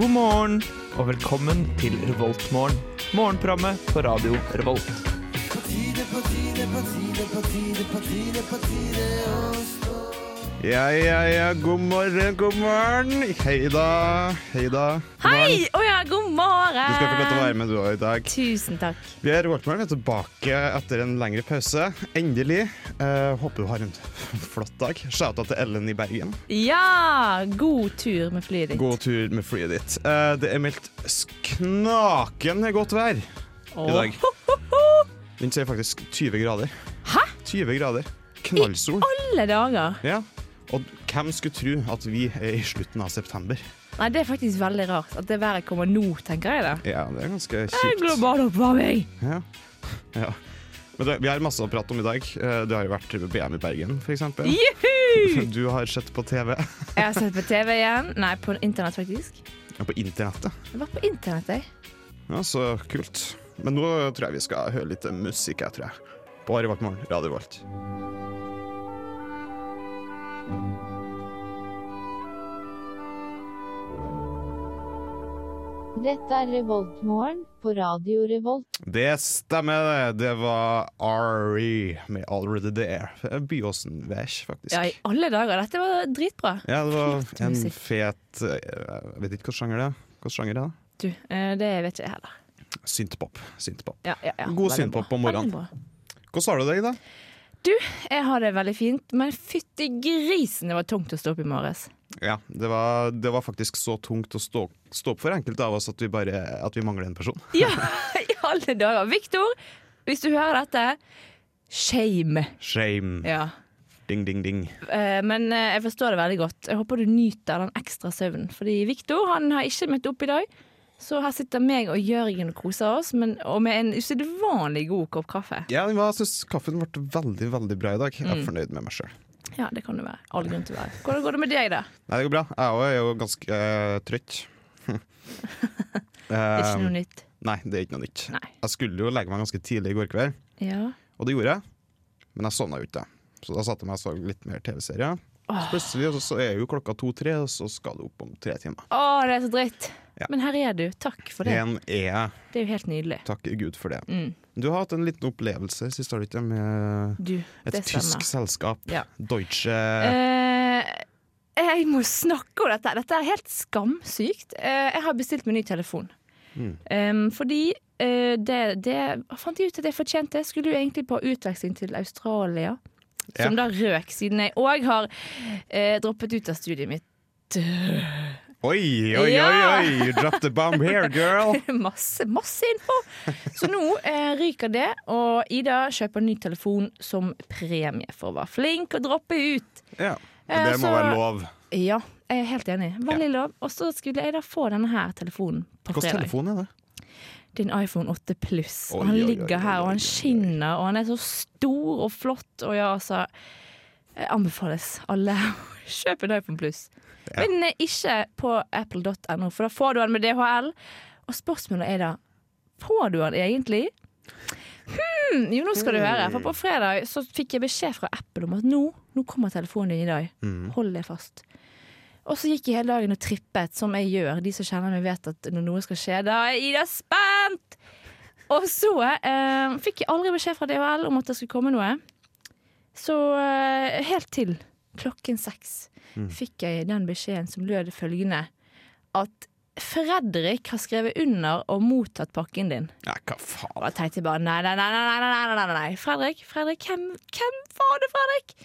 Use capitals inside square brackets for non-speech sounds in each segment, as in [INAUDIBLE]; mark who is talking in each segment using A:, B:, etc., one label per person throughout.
A: God morgen og velkommen til Revoltmorgen. Morgenprogrammet på radio Revolt.
B: Ja, ja, ja, god morgen, god morgen. Hei da, hei da. God morgen.
C: Hei! Å ja, god morgen!
B: Du skal få lov til å være med du også i dag.
C: Tusen takk.
B: Vi er Walkman, vi er tilbake etter en lengre pause. Endelig. Eh, håper du har en flott dag. Shouta til Ellen i Bergen.
C: Ja! God tur med flyet ditt.
B: God tur med flyet ditt. Eh, det er meldt knakende godt vær i dag. Den sier faktisk 20 grader.
C: Hæ?
B: 20 grader. Knallsol.
C: Alle dager.
B: Ja. Og hvem skulle tro at vi er i slutten av september?
C: Nei, det er faktisk veldig rart at det været kommer nå, tenker jeg da.
B: Ja, det er ganske
C: Det er
B: kjipt.
C: global oppvarming!
B: Ja. ja. Men det, vi har masse å prate om i dag. Eh, Du har jo vært på BM i Bergen, f.eks. [LAUGHS]
C: Juhu!
B: Du har sett på TV.
C: Jeg har sett på TV igjen. Nei, på internett faktisk.
B: Ja, På internettet.
C: Jeg var på internett, jeg.
B: Ja, Så kult. Men nå tror jeg vi skal høre litt musikk, jeg tror jeg. På Ari Vartmorgen, Radio Volt.
D: Dette er Revoltmorgen på Radio Revolt.
B: Det stemmer, det. Det var Ari med 'Already There'. Byåsen-væsj, faktisk.
C: Ja, i alle dager. Dette var dritbra.
B: Ja, det var
C: Flott
B: en
C: musikk.
B: fet eh, Jeg vet ikke hva sjanger det er. Hva sjanger det er. da?
C: Du, eh, det vet ikke jeg heller.
B: Synthpop. Synthpop.
C: Ja, ja, ja.
B: God
C: Veldig
B: synpop
C: bra.
B: om morgenen.
C: Veldig bra.
B: Hvordan har du det i dag?
C: Du, jeg har det veldig fint, men fytti grisen, det var tungt å stå opp i morges.
B: Ja, det var, det var faktisk så tungt å stå, stå opp for enkelte av oss at vi, bare, at vi mangler en person.
C: Ja, i alle dager. Viktor, hvis du hører dette, shame.
B: Shame.
C: Ja.
B: Ding, ding, ding.
C: Eh, Men eh, jeg forstår det veldig godt. Jeg håper du nyter den ekstra søvnen. Fordi Viktor han har ikke møtt opp i dag. Så her sitter meg og Jørgen og koser oss, men, og med en usedvanlig god kopp kaffe.
B: Ja, men jeg syns kaffen ble veldig veldig bra i dag.
C: Mm.
B: Jeg er fornøyd med meg sjøl.
C: Ja, det kan du være. All grunn til å være. Hvordan går det med deg, da?
B: Nei, det går bra. Jeg òg er jo ganske eh, trøtt.
C: [LAUGHS] Det er ikke
B: Eh,
C: noe nytt.
B: nei, det er ikke noe nytt.
C: Nei.
B: Jeg skulle jo legge meg ganske tidlig i går kveld,
C: Ja.
B: og det gjorde jeg. Men jeg sovna jo ikke. Så da satte jeg meg og så litt mer TV-serier. Så plutselig så- så er jo klokka to-tre, og så skal du opp om tre timer.
C: Å, det er så dritt.
B: Ja.
C: Men her er du. Takk for det.
B: Igjen er jeg.
C: Det er jo helt nydelig.
B: Takk Gud for det.
C: Mm.
B: Du har hatt en liten opplevelse sist, har du ikke, med
C: Du,
B: et
C: det stemmer.
B: tysk selskap.
C: Ja.
B: Deutsche
C: Eh, jeg må snakke om dette. Dette er helt skamsykt. Eh, jeg har bestilt meg ny telefon. Em, fordi eh, det, det fant jeg ut at jeg fortjente. Jeg skulle jo egentlig på utveksling til Australia, som da røk, siden jeg òg har eh, droppet ut av studiet mitt.
B: Oi, oi, oi,
C: Ja!
B: oi! You dropped the bomb here, girl!
C: [LAUGHS] masse, masse info! Så nå eh, ryker det, og Ida kjøper ny telefon som premie for å være flink og droppe ut.
B: Ja.
C: Eh,
B: Det må
C: så-
B: være lov.
C: Ja, jeg er helt enig. Veldig lov. Og så skulle jeg da få denne her telefonen på
B: Hvilken
C: fredag.
B: telefon er det?
C: Det er en iPhone 8 Pluss.
B: Oi,
C: Og han
B: oi, oi,
C: ligger
B: oi,
C: her, og
B: oi, oi.
C: han skinner, og han er så stor og flott, og ja, altså eh, Anbefales alle [LAUGHS] å kjøpe en iPhone Pluss.
B: Ja.
C: Men eh, ikke på apple.no, for da får du den med DHL. Og spørsmålet er da Får du den egentlig? Hmm, jo, nå skal du høre. For på fredag så fikk jeg beskjed fra Apple om at nå, nå kommer telefonen din i dag. Hold deg fast. Og så gikk jeg hele dagen og trippet, som jeg gjør. De som kjenner meg, vet at når noe skal skje, da er Ida spent! Og så eh, fikk jeg aldri beskjed fra DHL om at det skulle komme noe. Så eh, helt til klokken seks fikk jeg den beskjeden som lød følgende at Fredrik har skrevet under og mottatt pakken din.
B: Ja, hva
C: Og
B: faen?
C: da tenkte jeg bare nei, nei, nei, nei, nei, nei, nei, nei, nei, nei. Fredrik, Fredrik, hvem, hvem var det, Fredrik?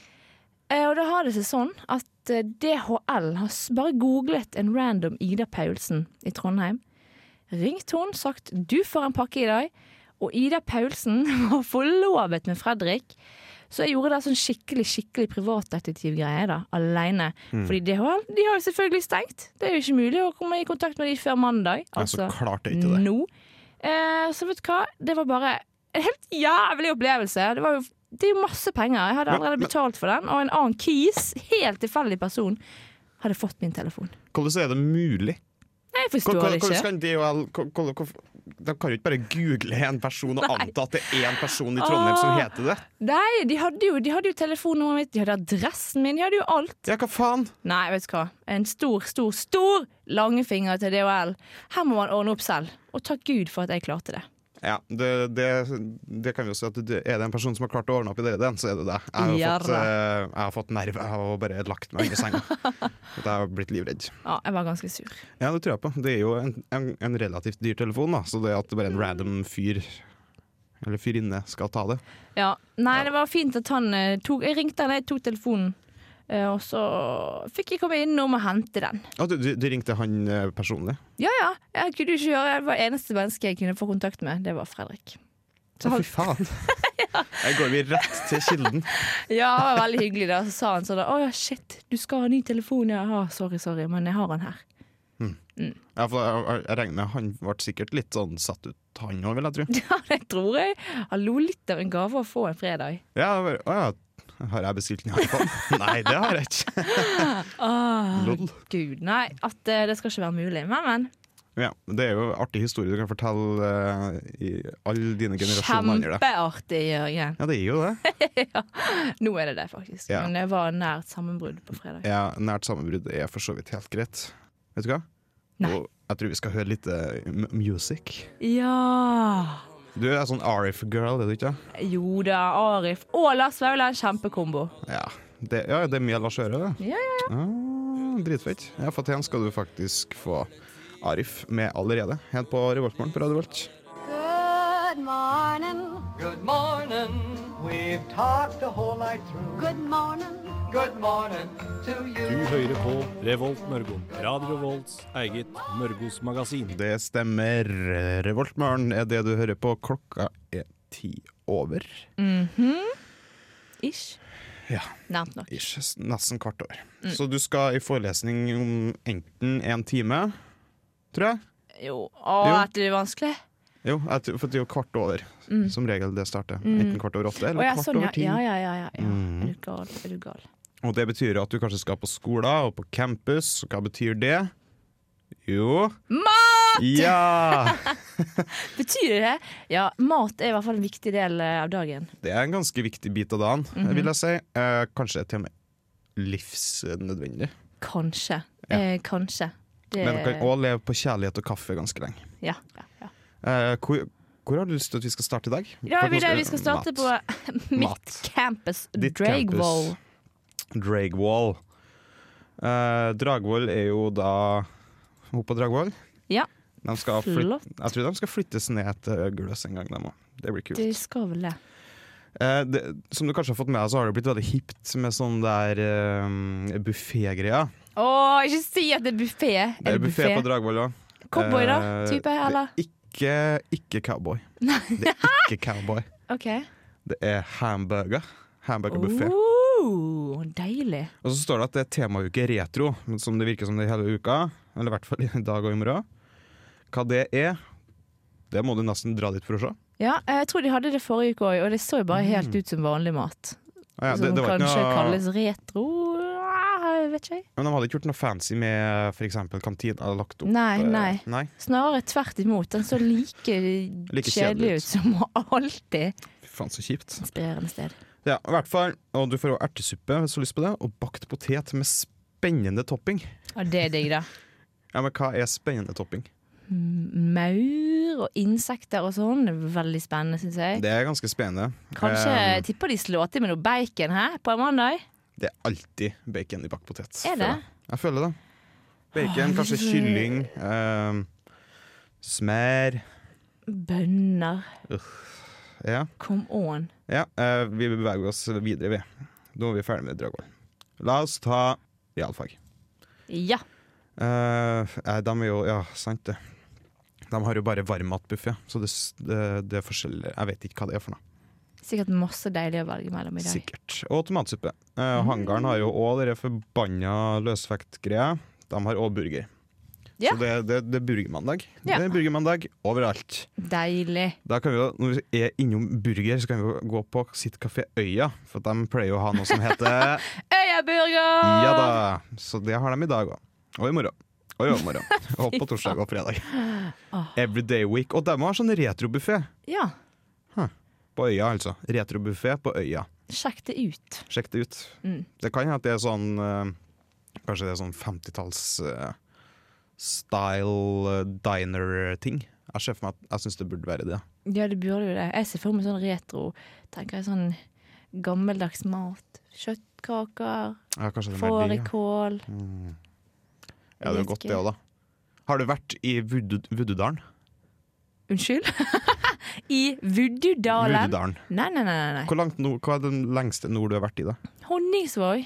C: Eh, og da har det seg sånn at eh, DHL har s- bare googlet en random Ida Paulsen i Trondheim. Ringt hun, sagt 'du får en pakke i dag', og Ida Paulsen [LAUGHS] var forlovet med Fredrik. Så jeg gjorde da sånn skikkelig skikkelig privatdetektivgreie da, aleine.
B: Mm.
C: Fordi DHL de har jo selvfølgelig stengt. Det er jo ikke mulig å komme i kontakt med de før mandag.
B: Ja, så
C: altså
B: klart det er ikke det.
C: nå. Eh, så vet du hva, det var bare en helt jævlig opplevelse. Det, var jo, det er jo masse penger. Jeg hadde
B: Men-
C: allerede
B: men-
C: betalt for den, og en annen kis, helt tilfeldig person, hadde fått min telefon.
B: Hvordan er det mulig?
C: Nei, Jeg
B: Hvor-
C: forstår
B: hvor-
C: det
B: Hvordan
C: ikke.
B: kan DHL hvor- hvor- hvor- de kan jo ikke bare google en person og anta at det er én person i
C: Åh.
B: Trondheim som heter det.
C: Nei, de hadde jo, de hadde jo telefonnummeret mitt, de hadde adressen min, de hadde jo alt.
B: Ja, hva faen?
C: Nei, vet du hva. En stor, stor, stor langfinger til DHL. Her må man ordne opp selv. Og takk Gud for at jeg klarte det.
B: Ja, det, det, det kan vi jo si at det, Er det en person som har klart å ordne opp i det, den, så er det deg. Jeg, har jo
C: Ja
B: fått,
C: da.
B: eh, jeg har fått nerve av å bare lagt meg i senga. At jeg har blitt livredd.
C: Ja, jeg var ganske sur.
B: Ja, det tror jeg på. Det er jo en, en, en relativt dyr telefon, da, så det at bare en random fyr eller fyrinne skal ta det.
C: Ja. Nei, det var fint at han eh, tok Jeg ringte han, jeg tok telefonen. Eh, Og så fikk jeg komme innom og hente den.
B: Å, du, du, du ringte han eh, personlig?
C: Ja ja, jeg kunne jo ikke gjøre det var eneste menneske jeg kunne få kontakt med. Det var Fredrik. Så
B: Å,
C: han,
B: fy faen! Her går vi rett til kilden.
C: ja, han var veldig hyggelig da. Så sa han sånn Å ja, shit, du skal ha ny telefon. Ja, ah, sorry, sorry, men jeg har han her. [LAUGHS]
B: Ja, for jeg, jeg, jeg regner med han ble sikkert litt sånn satt ut, han òg, vil jeg tro.
C: Ja, det tror jeg. Han lo litt av en gave å få en fredag.
B: Ja, jeg bare, å ja, har jeg bestilt den i iPhone? [LAUGHS] Nei, det har jeg ikke.
C: Åh,
B: Lol.
C: Gud, nei. At eh, det skal ikke være mulig. Men, men.
B: Ja, det er jo en artig historie du kan fortelle eh, i alle dine generasjoner under deg.
C: Kjempeartig, Jørgen.
B: Ja, det er jo det.
C: Nå er det det, faktisk.
B: Ja.
C: Men det var nært sammenbrudd på fredag.
B: Ja, nært sammenbrudd er for så vidt helt greit. Vet du hva?
C: Nei.
B: Og jeg tror vi skal høre litt eh, m- music.
C: Ja
B: Du er sånn Arif-girl, er du ikke?
C: Jo da, Arif og Lars Vaular. Kjempekombo.
B: Ja. Det, ja, det er mye Lars Øre, det.
C: Ja, ja, ja.
B: Ah, dritfett. Ja, for til han skal du faktisk få Arif med allerede, helt på Revoltmorgen på Radio Volt.
E: Good morning.
F: Good morning. We've talked the whole night through.
E: Good morning.
F: Good morning to
G: Du
F: you.
G: hører på Revolt Mørgo. Radio Revolts eget Mørgos magasin.
B: Det stemmer. Revoltmorgen er det du hører på. Klokka er ti over.
C: Ish.
B: Ja.
C: Nært nok.
B: Ish, s- nesten kvart over.
C: Mm.
B: Så du skal i forelesning om enten en time, tror jeg.
C: Jo.
B: Jo.
C: Å, at det er vanskelig.
B: Jo, jeg tror- for det er jo kvart over som regel det starter. Enten kvart over åtte eller
C: Mm. Å ja,
B: kvart
C: sånn, ja.
B: over ti. Mm.
C: Ja, ja, ja. ja, ja. Er du gal? Er du gal?
B: Og det betyr at du kanskje skal på skolen og på campus. Hva betyr det? Jo Mat! Ja!
C: Betyr det det? Ja, mat er i hvert fall en viktig del eh, av dagen.
B: Det er en ganske viktig bit av dagen,
C: Mhm.
B: vil jeg si. Eh, kanskje til og med livsnødvendig.
C: Kanskje. Eh, kanskje. Det,
B: Men man kan òg leve på kjærlighet og kaffe ganske lenge.
C: ja, ja, ja.
B: Eh, hvor, hvor har du lyst til at vi skal starte i dag?
C: Ja,
B: For
C: vi,
B: nå skal-
C: vi skal starte
B: Mat.
C: på eh, [LAUGHS] mitt
B: Mat.
C: campus,
B: Ditt
C: Dragvoll.
B: Dragvoll. Eh, Dragvoll er jo da Hun på Dragvoll.
C: Ja,
B: De skal flyt,
C: Flott.
B: jeg tror de skal flyttes ned til Gløs en gang, de òg. Det blir kult.
C: de skal vel det.
B: Eh, det, som du kanskje har fått med deg, så har det blitt veldig hipt med sånn der uh, buffégreia.
C: Å, ikke si at det er buffé!
B: Det er buffé på Eh, Dragvoll òg.
C: Cowboy, da? Type, eller?
B: Ikke, ikke
C: [LAUGHS]
B: cowboy. Det er ikke cowboy.
C: OK.
B: Det er hamburger. Hamburgerbuffé.
C: Oh, deilig.
B: Og så står det at det er temauke retro, som det virker som det er hele uka. Eller i hvert fall i dag og i morgen. Hva det er, det må du nesten dra dit for å se.
C: Ja, jeg tror de hadde det forrige uke òg, og det så jo bare helt ut som vanlig mat.
B: Ah, Mm. ja, det,
C: som
B: det var ikke
C: kanskje
B: noe,
C: kalles retro ah, jeg vet ikke jeg.
B: men de hadde ikke gjort noe fancy med f.eks. kantina lagt opp.
C: Nei,
B: eh,
C: nei.
B: nei.
C: Snarere tvert imot. Den så like,
B: Like
C: kjedelig
B: kjedelig
C: ut som alltid.
B: Fy faen, så kjipt.
C: Inspirerende sted.
B: Ja, i hvert fall. Og du får også ertesuppe hvis du har lyst på det, og bakt potet med spennende topping.
C: Ja, det er digg, da.
B: Ja, Men hva er spennende topping?
C: maur og insekter og sånn. Det er Veldig spennende, syns jeg.
B: Det er ganske spennende.
C: Eh. Kanskje
B: Eh,
C: jeg tipper de slår til med noe bacon her på en mandag.
B: Det er alltid bacon i bakt potet.
C: Er det?
B: føler jeg. Jeg føler det. Bacon,
C: Åh,
B: kanskje
C: det-
B: kylling, ehm, smør
C: Bønner.
B: Ja.
C: Come on.
B: ja eh, vi beveger oss videre, vi. Nå er vi ferdig med Dragvoll. La oss ta realfag.
C: Ja.
B: Eh, eh, de er jo Ja, sant det. De har jo bare varmmatbuffé, så det, s- det, det er forskjellig Jeg vet ikke hva det er for noe.
C: Sikkert masse deilig å velge mellom i dag.
B: Sikkert. Og tomatsuppe. Eh, hangaren har jo òg de forbanna løsvektgreia. De har òg burger.
C: Ja.
B: Så det, det, det er burgermandag.
C: Ja.
B: Det er burgermandag overalt.
C: Deilig.
B: Da kan vi jo, når vi er innom burger, så kan vi jo gå på sitt kafé Øya. For de pleier jo å ha
C: [LAUGHS]
B: noe som heter
C: Øyaburger!
B: Ja da! Så det har de i dag òg. Og i morgen. Og i
C: [LAUGHS]
B: overmorgen. Og på torsdag og fredag. Everyday week. Og de har sånn retrobuffé
C: Ja,
B: på øya, altså. Retrobuffé på øya.
C: sjekk det ut.
B: Sjekk det ut.
C: Mm.
B: Det kan hende at det er sånn eh, Kanskje det er sånn 50-talls eh, style eh, diner-ting. Jeg ser for meg at jeg syns det burde være det.
C: Ja, det burde jo det. Jeg ser for meg sånn retro. Tenker jeg sånn gammeldags mat. Kjøttkaker,
B: Ja, kanskje det er mer det, ja.
C: fårikål.
B: ja, det er jo godt det òg, da. Har du vært i Vudu- Vududalen?
C: Unnskyld? [LAUGHS] I Vuddudalen?
B: Vududalen.
C: Nei, nei, nei. nei, nei.
B: Hvor langt nord, hva er den lengste nord du har vært i, da?
C: Honningsvåg.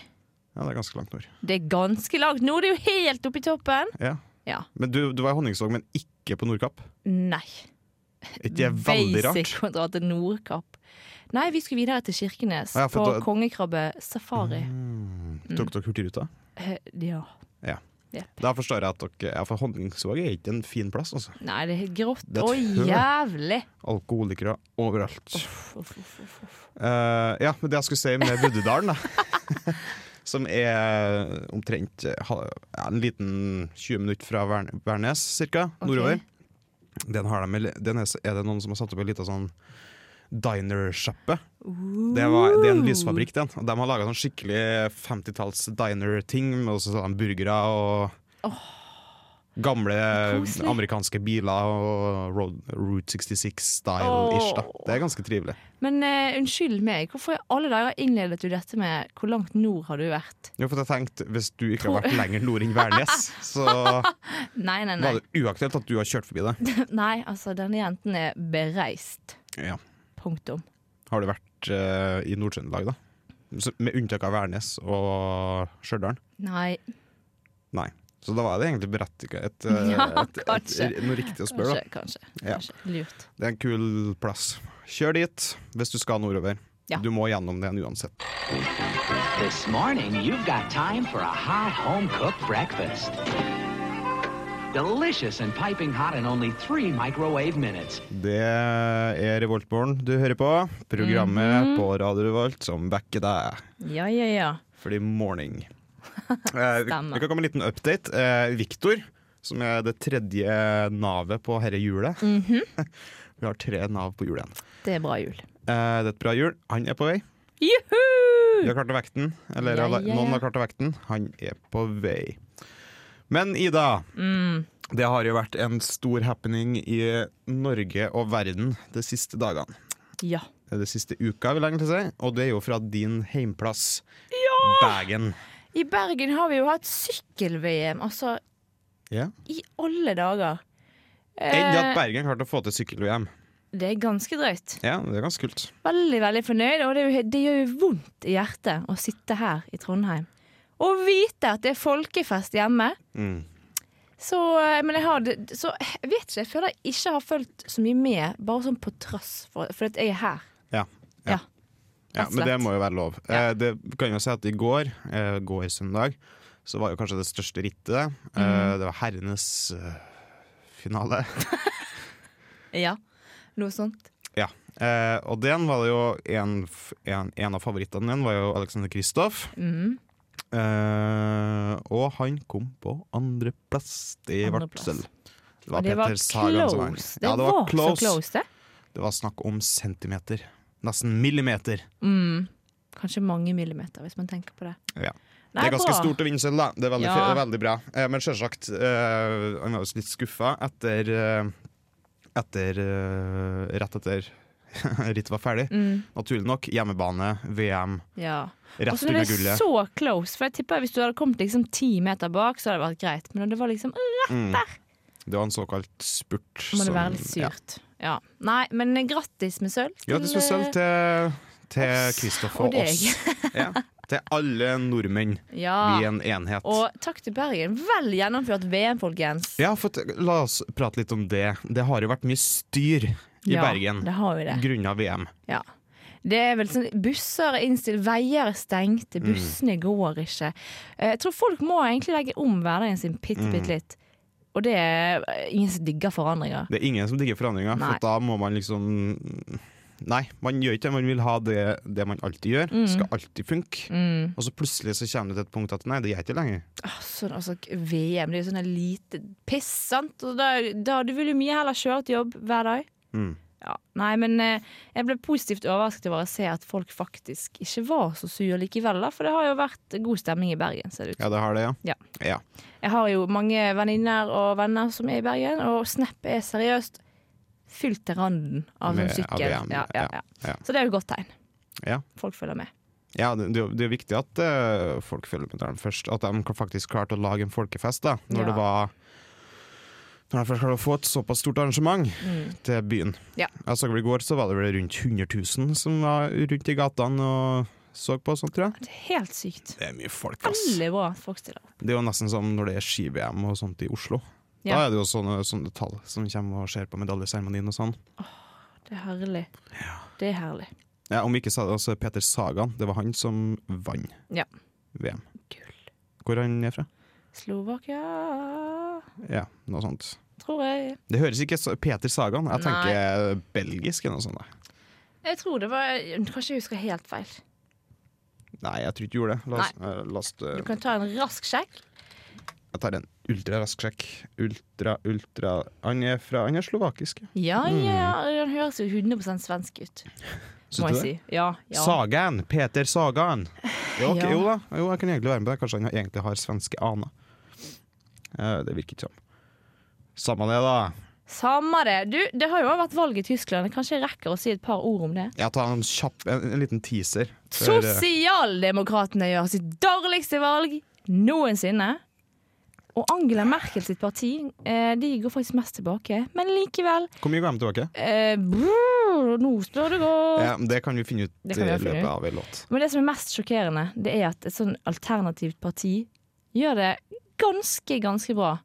B: Ja, det er ganske langt nord.
C: Det er ganske langt. Nå er det jo helt oppe i toppen.
B: Ja.
C: Ja.
B: Men du, du var i Honningsvåg, men ikke på Nordkapp?
C: Nei.
B: Er Ikke det veldig
C: Basic
B: rart?
C: å dra til Nordkapp. Nei, vi skulle videre til Kirkenes
B: Ja, for
C: på
B: da-
C: kongekrabbesafari. Mm.
B: Tok dere Hurtigruta?
C: Eh, Ja.
B: Ja.
C: Jepp.
B: Da forstår jeg at dere Ja, for Honningsvåg er ikke en fin plass, altså.
C: Nei, det er helt grått
B: Det er et
C: og
B: høl.
C: jævlig.
B: Alkoholikere overalt.
C: Uff, uff, uff, uff, uff.
B: Eh, ja, men det jeg skulle si med Buddedalen, da. [LAUGHS] Som er omtrent eh, ha- ja, en liten 20 minutter fra Vern- Værnes, cirka,
C: Ok.
B: nordover. Den, har de, den er, er det noen som har satt opp en liten sånn diner-sjappe. Det, var- det er en lysfabrikk, den. Og de har laga sånn skikkelig 50-talls diner-ting, med også sånn burgere og Gamle
C: Koselig.
B: amerikanske biler og road, Route 66-style-ish. da
C: Åh.
B: Det er ganske trivelig.
C: Men eh, unnskyld meg, hvorfor i alle dager innledet du dette med 'hvor langt nord har du vært'?
B: Jo, for jeg tenkte, Hvis du ikke har vært lenger nord enn
C: [LAUGHS]
B: Værnes, så var
C: Nei, nei, nei.
B: det uaktuelt at du har kjørt forbi det.
C: [LAUGHS] Nei, altså, denne jenten er bereist.
B: Ja.
C: Punktum.
B: Har du vært eh, i Nord-Trøndelag, da? Så, med unntak av Værnes og Stjørdal?
C: Nei,
B: Nei. Så da var det egentlig berettiget et, eh,
C: Ja,
B: et, et,
C: kanskje.
B: noe riktig å spørre.
C: kanskje.
B: da.
C: kanskje,
B: Ja.
C: kanskje. Lurt.
B: Det er en kul plass. Kjør dit hvis du skal nordover.
C: Ja.
B: Du må gjennom den uansett.
H: This morning, you've got time for a hot home cooked breakfast. Delicious and piping hot in only three microwave minutes.
B: Det er Revoltmorgen du hører på. Programmet
C: Mhm.
B: på Radio Revolt som vekker deg.
C: Ja, ja, ja.
B: Fordi morning
C: [LAUGHS]
B: Eh, vi,
C: Stemmer.
B: vi kan komme med en liten update. Eh, Victor, som er det tredje navet på herre hjulet
C: Mhm.
B: [LAUGHS] Vi har tre nav på hjulet igjen.
C: Det er bra jul.
B: Eh, det er et bra hjul. Han er på vei. Vi
C: Juhu!
B: har klart å vekte den. Eller
C: Ja, ja, ja.
B: noen har klart å vekte den. Han er på vei. Men Ida,
C: Mm.
B: det har jo vært en stor happening i Norge og verden de siste dagene.
C: Ja.
B: De siste uka, vil jeg egentlig si. Og det er jo fra din heimplass, Bergen.
C: I Bergen har vi jo hatt sykkel-VM, altså
B: Ja.
C: i alle dager. Eh,
B: Enda at Bergen klarte å få til sykkel-VM.
C: Det er ganske drøyt.
B: Ja, det er ganske kult.
C: Veldig, veldig fornøyd, og det, er jo, det gjør jo vondt i hjertet å sitte her i Trondheim. Og vite at det er folkefest hjemme.
B: Mm.
C: Så, eh, men jeg har det- så jeg vet ikke, jeg føler jeg ikke har fulgt så mye med, bare sånn på trass, for, for at jeg er her.
B: Ja.
C: Ja.
B: Ja,
C: Rett og
B: men det
C: slett.
B: må jo være lov.
C: Ja.
B: Eh, det kan jo si at i går, eh, går søndag, så var jo kanskje det største rittet. Eh,
C: Mhm.
B: det var herrenes eh, finale.
C: Ja, noe sånt.
B: ja. Eh, og den var det jo en, f- en, en av favorittene din var jo Alexander Kristoff.
C: Mm.
B: Eh, og han kom på andreplass. Det ble
C: Andreplass.
B: sølv. Det
C: Og
B: var
C: det var
B: Peter Sagan som vant.
C: close. Det,
B: sånn Ja, det var
C: så close, det.
B: Det var snakk om centimeter. Nesten millimeter.
C: Mm. Kanskje mange millimeter, hvis man tenker på det.
B: Ja.
C: Nei,
B: det er ganske
C: bra.
B: stort å vinne sølv, da. Det er veldig,
C: Ja.
B: det er veldig bra. Eh, men selvsagt, eh, han var jo litt skuffa etter eh, Etter eh, Rett etter [LAUGHS] rittet var ferdig.
C: Mm.
B: Naturlig nok. Hjemmebane, VM,
C: Ja. Og
B: rett
C: så
B: under
C: ble det
B: gullet.
C: så close, for jeg tipper hvis du hadde kommet liksom ti meter bak, så hadde det vært greit. Men når det var liksom rett der,
B: Mm. Det var en såkalt spurt.
C: må det
B: som-
C: være litt
B: Ja.
C: surt. Ja. Nei, men grattis med sølv. til- eh,
B: Grattis med sølv til, til Kristoffer
C: og
B: og
C: deg.
B: oss.
C: [LAUGHS]
B: Ja. Til alle nordmenn.
C: eh, Ja.
B: Vi er en enhet.
C: Ah. Og takk til Bergen. Vel gjennomført VM, folkens.
B: Ja, for t- La oss prate litt om det. Det har jo vært mye styr i
C: Ja,
B: Bergen
C: Det har vi det.
B: grunna VM.
C: Ja. Det er vel sånn, Busser er innstilt, veier er stengte,
B: Mm.
C: bussene går ikke. Eh, Jeg tror folk må egentlig legge om hverdagen sin bitte, bitte
B: Mm.
C: litt. Og det er ingen som digger forandringer.
B: Det er ingen som digger forandringer,
C: Nei.
B: for da må man liksom Nei, man gjør ikke det. Man vil ha det, det man alltid gjør.
C: Mm.
B: Skal alltid funke. Og så plutselig så kommer du til et punkt at nei, det gjør jeg ikke lenger.
C: Åh, Sånn, altså, VM det er jo sånn lite piss, sant? Og da, da, du vil jo mye heller kjøre til jobb hver dag.
B: Mm.
C: Ja, nei, men eh, jeg ble positivt overrasket over å se at folk faktisk ikke var så sure likevel. Da, for det har jo vært god stemning i Bergen, ser det ut som.
B: Ja, det har det,
C: Ja.
B: ja. ja.
C: Jeg har jo mange venninner og venner som er i Bergen, og Snap er seriøst fylt til randen av sånn
B: Med- av
C: sykkel.
B: VM,
C: Ja, ja,
B: ja,
C: ja.
B: ja.
C: Så det er jo et godt tegn.
B: Ja.
C: Folk følger med.
B: Ja, det, det er jo- det er jo viktig at eh, folk følger med der først. At de faktisk klarte å lage en folkefest da, når
C: Ja.
B: det var Når de først klarte å få et såpass stort arrangement til byen.
C: Mm. Ja.
B: Jeg så vel I går så var det vel rundt 100 000 som var rundt i gatene og så på og sånt, tror jeg.
C: Det er helt sykt.
B: Det er mye folk, ass.
C: Veldig bra at folk stiller opp.
B: Det er jo nesten som når det er ski-VM og sånt i Oslo.
C: Ja.
B: Da er det jo sånne, sånne tall som kommer og ser på medaljeseremonien og sånn.
C: Det er herlig. Det er herlig.
B: Ja, om ikke så er det også Peter Sagan. Det var han som vant
C: Ja.
B: VM.
C: Gull.
B: Hvor er han er fra?
C: Slovakia
B: Ja, noe sånt.
C: Tror jeg.
B: Det høres ikke så Peter Sagan. Jeg
C: Nei.
B: tenker belgisk eller noe sånt. da.
C: Jeg tror det var Kanskje jeg husker helt feil.
B: Nei, jeg tror ikke jeg gjorde det. La oss, eh, la oss, eh,
C: Du kan ta en rask sjekk.
B: jeg tar en ultrarask sjekk. Ultra, ultra Han er fra Han er slovakisk. ja.
C: Ja, ja, han høres jo 100 svensk ut, må
B: Mm. Synes
C: jeg
B: du
C: si.
B: det?
C: Ja, ja.
B: Sagan! Peter Sagan! Jo, ok,
C: Ja.
B: jo da, jo, jeg kan egentlig være med på det. Kanskje han egentlig har svenske aner. Eh, det virker ikke sånn. Samme det, da.
C: Samme det. Du, det har jo også vært valg i Tyskland. Kanskje jeg rekker å si et par ord om det?
B: Jeg tar en kjapp En, en liten teaser. før, eh,
C: Sosialdemokratene gjør sitt dårligste valg noensinne. Og Angela Merkel sitt parti eh, de går faktisk mest tilbake. Men likevel
B: Hvor mye går de tilbake?
C: eh, brrr, Nå spør du godt.
B: Ja, men det kan vi finne ut
C: Det
B: i
C: kan vi finne
B: løpet
C: ut.
B: av en låt.
C: Men det som er mest sjokkerende, det er at et sånn alternativt parti gjør det ganske, ganske bra.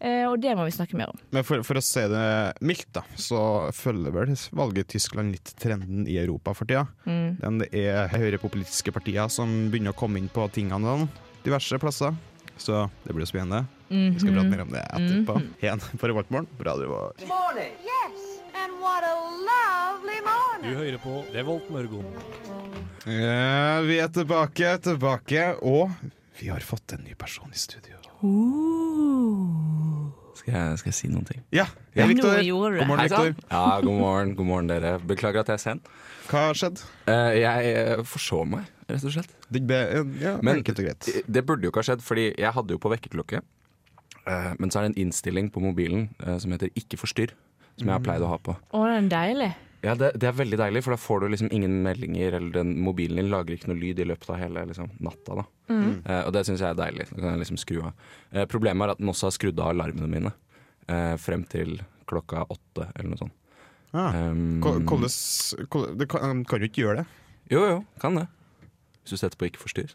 C: Eh, og det må vi snakke mer om.
B: Men for, for å se det mildt, da, så følger vel valget i Tyskland litt trenden i Europa for tida.
C: Mm.
B: Den det er høyrepopulistiske partier som begynner å komme inn på tingene sånn, diverse plasser. Så det blir spennende. Vi skal prate mer om
C: Mhm.
B: det etterpå. Igjen på Revoltmorgen på Radio Revolt.
F: Morning.
E: Yes, and what a lovely
G: Du
E: morning.
G: hører på Revolt Mørgon.
B: Ja, Eh, vi er tilbake, tilbake, og vi har fått en ny person i studio.
I: Skal jeg, skal jeg si noen ting?
B: Ja, hei, Victor.
C: Nå gjorde du det.
B: God morgen,
I: Hei sann!
B: Victor.
I: Ja, god morgen, god morgen dere. Beklager at jeg er sen.
B: Hva har skjedd?
I: Eh, jeg eh, forsov meg, rett og slett.
B: Det ble, ja,
I: Men- eh,
B: enkelt og greit.
I: Det burde jo ikke ha skjedd, fordi jeg hadde jo på vekkerklokke. Eh, men så er det en innstilling på mobilen eh, som heter 'ikke forstyrr', som jeg har pleid å ha på.
C: Å, den er deilig.
I: Ja, det, det er veldig deilig, for da får du liksom ingen meldinger, eller den mobilen din lager ikke noe lyd i løpet av hele liksom, natta. da. Eh, og det syns jeg er deilig. Da kan jeg liksom skru av. Eh, problemet er at den også har skrudd av alarmene mine eh, frem til klokka åtte eller noe sånt.
B: Ah.
I: Um,
B: Ko- hvordan- hvordan- det kan, kan jo ikke gjøre det.
I: Jo, jo, kan det. Hvis du setter på 'ikke forstyrr'.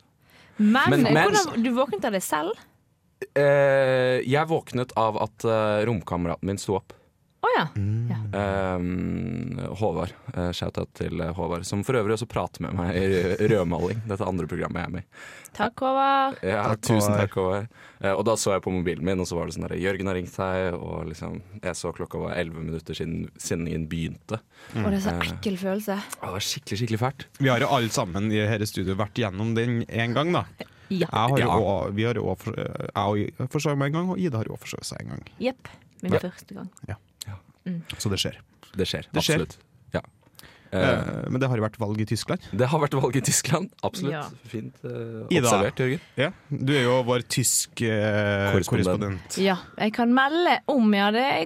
C: Men,
I: Men- men-
C: hvordan, du våknet av det selv?
I: Eh, jeg våknet av at eh, romkameraten min sto opp.
C: Å ja.
I: Mm. Ehm, Håvard. Uh, Shout-out til eh, Håvard, som for øvrig også prater med meg i rø- rødmaling. Dette andre programmet jeg er med i.
C: Takk, Håvard.
I: Ja,
B: Takk,
I: tusen
B: Håvard.
I: takk, Håvard. Eh, og da så jeg på mobilen min, og så var det sånn der Jørgen har ringt deg, og liksom Jeg så klokka var elleve minutter siden sendingen begynte.
C: Å, det er så
I: Eh.
C: ekkel følelse.
I: Å, det var skikkelig, skikkelig fælt.
B: Vi har jo alle sammen i dette studioet vært gjennom den en gang, da.
C: Ja.
B: Jeg har jo
I: Ja.
B: også- vi har jo også- jeg har forsøkt meg en gang, og Ida har jo forsøkt seg en gang.
C: Jepp. Min
I: Ja.
C: første gang.
B: Så det skjer.
I: Det skjer.
B: Det skjer.
I: Absolutt. Ja. Eh,
B: Eh, Men det har jo vært valg i Tyskland.
I: det har vært valg i Tyskland. Absolutt.
C: Ja.
I: Fint eh,
B: Ida.
I: observert, Jørgen.
B: Du er jo vår tysk eh,
I: Korrespondent.
B: korrespondent.
C: Ja, jeg kan melde om, ja. Det er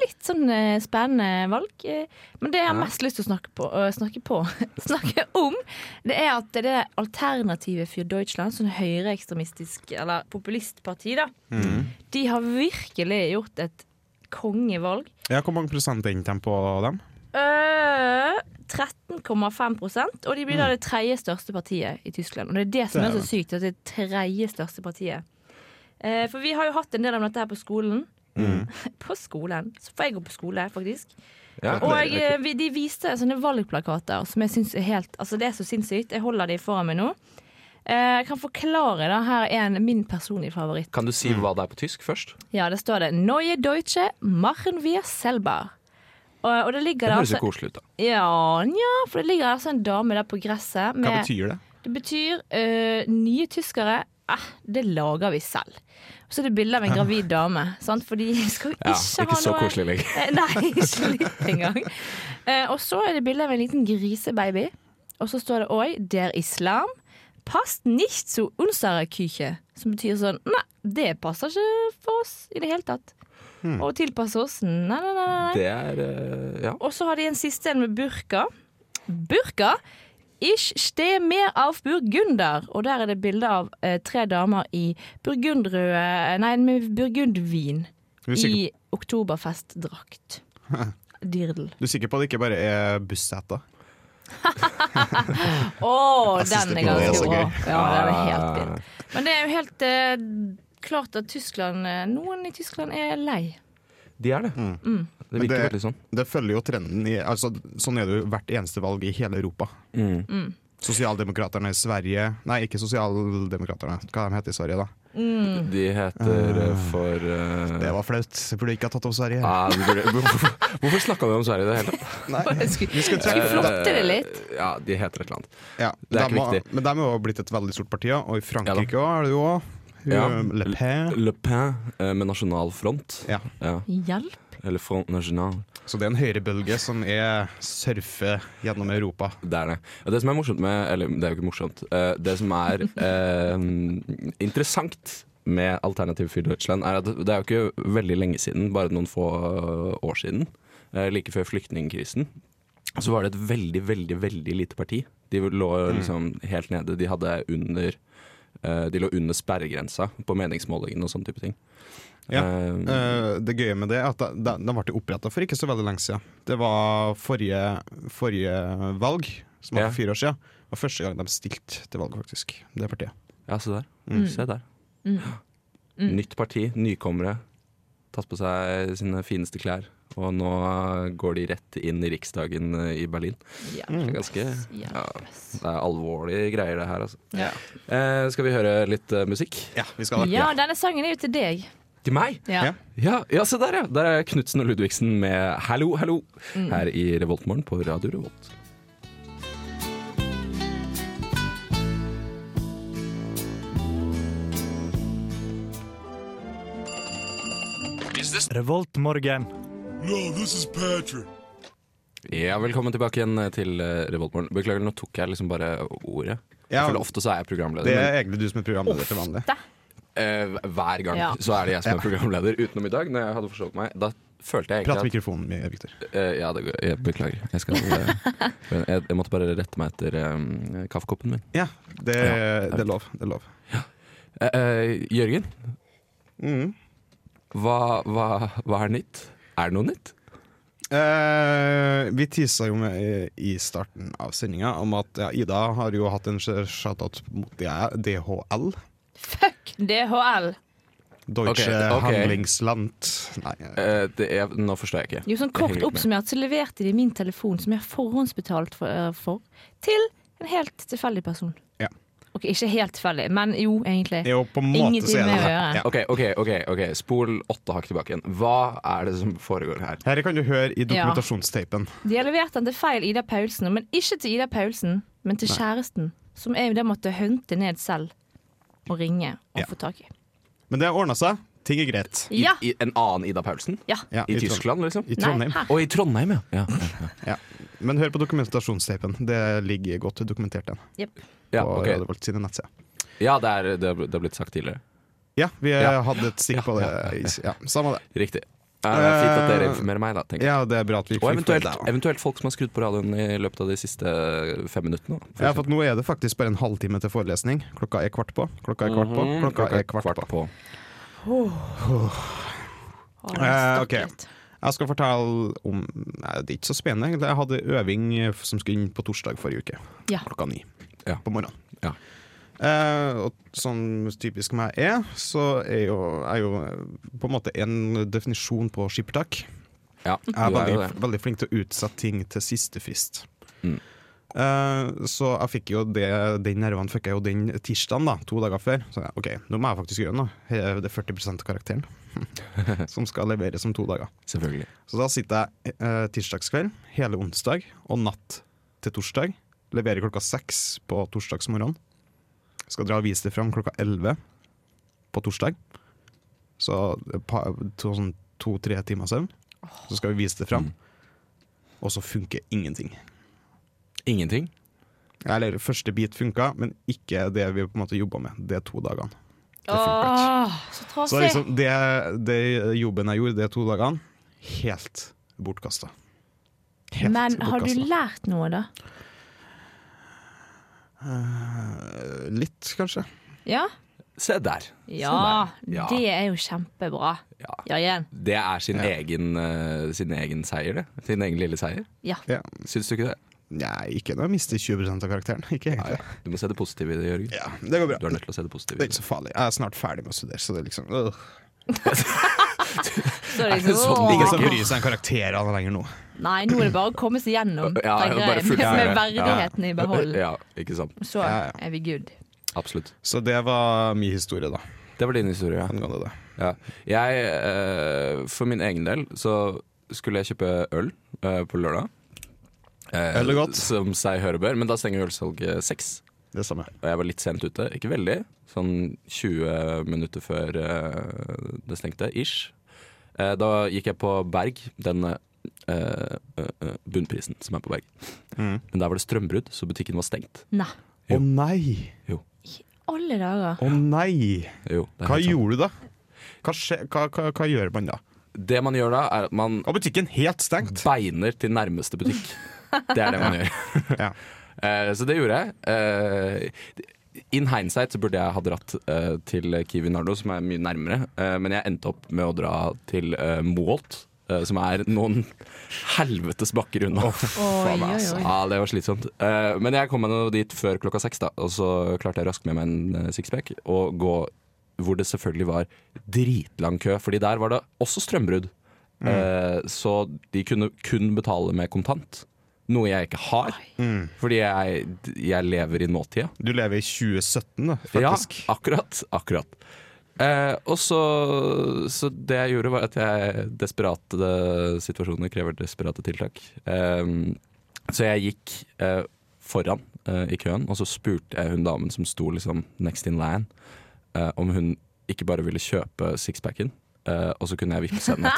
C: litt sånn eh, spennende valg. eh, Men det jeg har mest lyst til å snakke på, å snakke, på [LAUGHS] snakke om, det er at det er Alternativet for Deutschland, sånn høyreekstremistisk eller populistparti, da. De har virkelig gjort et kongevalg.
B: Ja, hvor mange prosent endte de på dem?
C: Øh, 13,5 og de blir
I: Mm.
C: da det tredje største partiet i Tyskland. Og det er det som er så
B: Dæven.
C: sykt, at det er det tredje største partiet. Eh, for vi har jo hatt en del om dette her på skolen.
I: Mm.
C: [LAUGHS] På skolen. Så får jeg gå på skole, faktisk.
I: Ja,
C: Og
I: det-
C: jeg, eh, vi- de viste sånne valgplakater som jeg syns er helt Altså, det er så sinnssykt. Jeg holder de foran meg nå. Eh, jeg kan forklare, da. Her er en min personlige favoritt.
I: Kan du si hva det er på tysk først?
C: Ja, det står det Neue Deutsche machen wir selber. Og, og det ligger
I: Det
C: der
I: høres
C: altså
I: jo koselig ut, da.
C: Ja, nja, for det ligger altså en dame der på gresset
B: Hva
C: med
B: betyr det?
C: Det betyr eh, nye tyskere. Eh, det lager vi selv. Og så er det bilde av en gravid dame, sant? for de skal jo ikke,
I: Ja, ikke
C: ha
I: så
C: noe
I: koselig lenger.
C: Eh, Nei, ikke litt engang. Eh, og så er det bilde av en liten grisebaby. Og så står det òg 'Der islam passt nicht zu unsere Küche'. Som betyr sånn Nei, det passer ikke for oss i det hele tatt.
I: Hmm.
C: Å tilpasse oss. Nei, nei, nei. nei.
I: Det er eh, Ja.
C: Og så har de en siste en med burka. Burka? Ich stehe mer auf burgunder. Og der er det bilde av eh, tre damer i burgundrøde Nei, med burgundvin.
B: Du er, sikker,
C: I oktoberfestdrakt. Dirdel.
B: du er sikker på at det ikke bare er busseter?
C: Å,
B: synes
C: den
B: det bildet
C: er
B: er
C: ganske
B: så
C: bra.
B: gøy. Ah.
C: Ja, den er helt fin. Men det er jo helt eh, klart at Tyskland eh, Noen i Tyskland er lei.
I: De er det. Mm.
C: Mm.
I: Det
B: Men
I: virker
B: det-
I: veldig sånn.
B: Det følger jo trenden i altså, Sånn er det jo hvert eneste valg i hele Europa.
I: Mm.
B: Sosialdemokraterne i Sverige Nei, ikke sosialdemokraterne. Hva de heter i Sverige, da?
C: Mm.
I: De heter eh, for eh,
B: Det var flaut. Jeg burde ikke ha tatt opp Sverige.
I: ja, du burde, [LAUGHS] hvorfor hvorfor snakka du om Sverige i det hele tatt? Eh,
B: Nei.
C: Skulle
B: Vi skal trekke
C: skulle flotte det litt.
I: Ja, de heter et eller annet.
B: Ja,
I: Det
B: de
I: er ikke
B: har-
I: viktig.
B: Men de har jo blitt et veldig stort parti, ja. og i Frankrike
I: Ja
B: òg er det jo òg.
I: Ja.
B: Le Pen.
I: Le Pen eh, med nasjonal front.
B: Ja.
I: Ja.
C: Hjelp.
I: Eller Front National.
B: Så det er en høyrebølge som er surfe gjennom Europa.
I: Det er det. Og det som er morsomt med Eller det er jo ikke morsomt. eh, det som er eh, interessant med Alternativ for Deutschland, er at det er jo ikke veldig lenge siden, bare noen få eh, år siden, eh, like før flyktningkrisen, så var det et veldig, veldig, veldig lite parti. De lå liksom helt nede. De hadde under eh, de lå under sperregrensa på meningsmålingene og sånne type ting.
B: Ja.
I: Eh,
B: Eh, det gøye med det er at de, de, de ble oppretta for ikke så veldig lenge siden. Det var forrige, forrige valg, som var
I: Ja.
B: for fire år siden. Det var første gang de stilte til valg, faktisk. Det partiet.
I: Ja, se der.
B: Mm.
I: Se der. Nytt parti, nykommere. Tatt på seg sine fineste klær. Og nå går de rett inn i Riksdagen eh, i Berlin. Det er
C: Hjelp.
I: ganske ja,
C: Hjelp.
I: Det er alvorlige greier, det her, altså.
C: Ja.
I: Eh, skal vi høre litt eh, musikk?
B: Ja, vi skal
C: ja, denne sangen er jo til deg.
I: Til meg?
C: Ja.
B: Ja.
I: Ja, ja se der, ja! Der er Knutsen og Ludvigsen med 'Hallo, hallo'
B: Mm.
I: her i Revoltmorgen på Radio Revolt.
A: Revoltmorgen.
I: Ja, Velkommen tilbake igjen til eh, Revoltmorgen. Beklager, nå tok jeg liksom bare ordet.
B: Ja.
I: Jeg føler Ofte så er jeg programleder.
B: Det
I: men-
B: er egentlig du som er programleder til vanlig.
I: Eh, hver gang
C: Ja.
I: så er det jeg som er programleder, utenom i dag. Når jeg hadde forstått meg Da følte jeg
B: Prat i
I: egentlig at
B: mikrofonen, min, Victor.
I: eh, Ja, det går, jeg beklager. Jeg, skal, eh, jeg, jeg måtte bare rette meg etter eh, kaffekoppen min.
B: Ja, det,
I: Ja,
B: det er lov. Det er lov.
I: Eh, eh, Jørgen,
B: Mm.
I: hva, hva, hva er nytt? Er det noe nytt?
B: Eh, vi tisa jo med i, i starten av sendinga om at ja, Ida har jo hatt en shoutout mot D- DHL.
C: Fuck DHL.
B: Deutsche
I: Ok, ok.
B: Handlingsland. Nei, eh,
I: Eh, det er, nå forstår jeg ikke.
C: Jo, sånn
I: Jeg
C: kort
I: henger ikke med.
C: oppsummert så leverte de min telefon, som jeg har forhåndsbetalt for, eh, for, til en helt tilfeldig person.
B: Ja.
C: Ok, ikke helt tilfeldig, men jo, egentlig.
B: jo, på en måte
C: Ingenting
B: så er det
C: med å
B: det.
C: gjøre.
B: Ja.
I: Ok, ok, ok, ok Spol åtte hakk tilbake igjen. Hva er det som foregår her?
B: Her kan du høre i
C: Ja.
B: dokumentasjonsteipen.
C: De har levert den til feil Ida Paulsen, men ikke til Ida Paulsen, men til kjæresten, som jeg da måtte hønte ned selv og ringe og
B: Ja.
C: få tak i.
B: Men det har ordna seg. Ting er greit.
I: I,
C: Ja!
I: i, en annen Ida Paulsen?
C: ja.
B: Ja,
I: I
B: Trond-
I: Tyskland, liksom?
B: I
C: Nei,
B: Trondheim.
C: her.
I: Og i Trondheim, ja. ja.
B: Ja. Men hør på dokumentasjonsteipen. Det ligger godt dokumentert den
C: Jep.
I: Ja,
B: på
I: ok.
B: Radio Volt sine nettsider.
I: ja det, er, det er det er blitt sagt tidligere.
B: Ja, vi eh,
I: Ja.
B: hadde et stikk på det. Ja, samme det.
I: Riktig. Ja, det er fint at dere informerer meg, da. tenker jeg.
B: Eh, Ja, det er bra at vi
I: Og
B: fikk det,
I: eventuelt,
B: da.
I: eventuelt folk som har skrudd på radioen i løpet av de siste fem minuttene. da, for
B: Ja,
I: eksempel.
B: for at nå er det faktisk bare en halvtime til forelesning. Klokka er kvart på. Klokka er kvart på.
I: Mhm.
B: Klokka er kvart på.
C: Å,
B: Eh, ok.
C: stakkert.
B: Jeg skal fortelle om Nei, det er ikke så spennende, egentlig. Jeg hadde øving eh, som skulle inn på torsdag forrige uke.
C: Ja.
B: Klokka ni
I: Ja.
B: på morgenen.
I: Ja.
B: Eh, og som typisk meg er, så er jo, er jo eh, på en måte en definisjon på skippertak.
I: Ja,
B: Jeg er
I: du er jo
B: veldig,
I: det.
B: veldig flink til å utsette ting til siste frist.
I: Mm.
B: Eh, så jeg fikk jo det, den nerven fikk jeg jo den tirsdagen, da, to dager før. Så jeg, OK, nå må jeg faktisk gjøre noe. Her er Det er 40 av
I: [LAUGHS]
B: karakteren som skal leveres om to dager.
I: Selvfølgelig.
B: Så da sitter jeg eh, tirsdagskveld, hele onsdag og natt til torsdag. Leverer klokka seks på torsdagsmorgen. Skal dra og vise det fram klokka elleve på torsdag. Så et par- to, sånn to-tre timer søvn. Så skal vi vise det fram. Og så funker ingenting.
I: Ingenting.
B: Eller første bit funka, men ikke det vi på en måte jobba med de to dagene. Det funka ikke.
C: Åh, så
B: Så
C: trasig!
B: liksom, det, det jobben jeg gjorde de to dagene, helt bortkasta. Helt
C: Men har du
B: bortkastet.
C: lært noe, da?
B: Eh, Litt, kanskje.
C: Ja?
I: Se der.
C: Ja,
I: der. Ja.
C: det er jo kjempebra.
I: Ja.
C: Jørgen.
I: Det er sin,
B: Ja.
I: egen, eh, sin egen seier, det. Sin egen lille seier.
C: Ja.
B: Ja.
I: Syns du ikke det?
B: Nei, ikke når jeg mister 20 av karakteren. [LAUGHS] Ikke egentlig.
I: Du må se det positive i det, Jørgen.
B: Ja, det går bra.
I: Du er nødt til å se det positive.
B: Det er
I: i
B: ikke så farlig. Jeg er snart ferdig med å studere, så det er liksom øh.
C: Så er det
I: Er det
C: liksom,
I: sånn
C: åh.
I: Ingen som
B: bryr seg om karakterene lenger nå.
C: Nei, nå er det bare å komme seg gjennom.
I: Ja, ja,
C: tenker
I: bare
C: jeg,
I: fullføre.
C: med, med
I: Ja.
C: verdigheten i behold.
I: Ja, ikke sant.
C: Så
B: Ja, ja.
C: er vi good.
I: Absolutt.
B: Så det var min historie, da.
I: Det var din historie, ja.
B: Angående det.
I: Ja. Jeg, eh, for min egen del, så skulle jeg kjøpe øl eh, på lørdag. Eh,
B: Øl er godt.
I: Som seg høre bør, men da stenger ølsalget seks.
B: Det samme.
I: Og jeg var litt sent ute, ikke veldig. Sånn 20 minutter før eh, det stengte, ish. Eh, da gikk jeg på Berg, den eh, eh, eh, bunnprisen som er på Berg.
B: Mm.
I: Men der var det strømbrudd, så butikken var stengt.
C: Nei.
I: Jo.
B: Å nei!
C: Alle dager.
B: Å nei!
I: Jo, det er
B: Hva
I: helt sant.
B: gjorde du da? Hva, skje, hva, hva, hva gjør man da?
I: Det man gjør da, er at man
B: Var butikken helt stengt?
I: beiner til nærmeste butikk. Det er det man gjør.
B: [LAUGHS] Ja.
I: Eh, så det gjorde jeg. Eh, in hindsight så burde jeg ha dratt eh, til Kiwi Nardo, som er mye nærmere. Eh, men jeg endte opp med å dra til eh, Moholt, eh, som er noen helvetes bakker unna.
C: Oi, oi, oi.
I: Ja, det var slitsomt. Eh, men jeg kom meg nå dit før klokka seks, da, og så klarte jeg raskt med meg en eh, sixpack og gå hvor det selvfølgelig var dritlang kø, fordi der var det også strømbrudd. Eh, så de kunne kun betale med kontant, noe jeg ikke har, fordi jeg, jeg lever i nåtida.
B: Du lever i 2017, da, faktisk.
I: Ja, akkurat. akkurat. Eh, og så, så det jeg gjorde, var at jeg desperate eh, situasjoner krever desperate tiltak. Eh, så jeg gikk eh, foran eh, i køen, og så spurte jeg hun damen som sto liksom next in line, eh, om hun ikke bare ville kjøpe sixpacken, eh, og så kunne jeg vippse henne.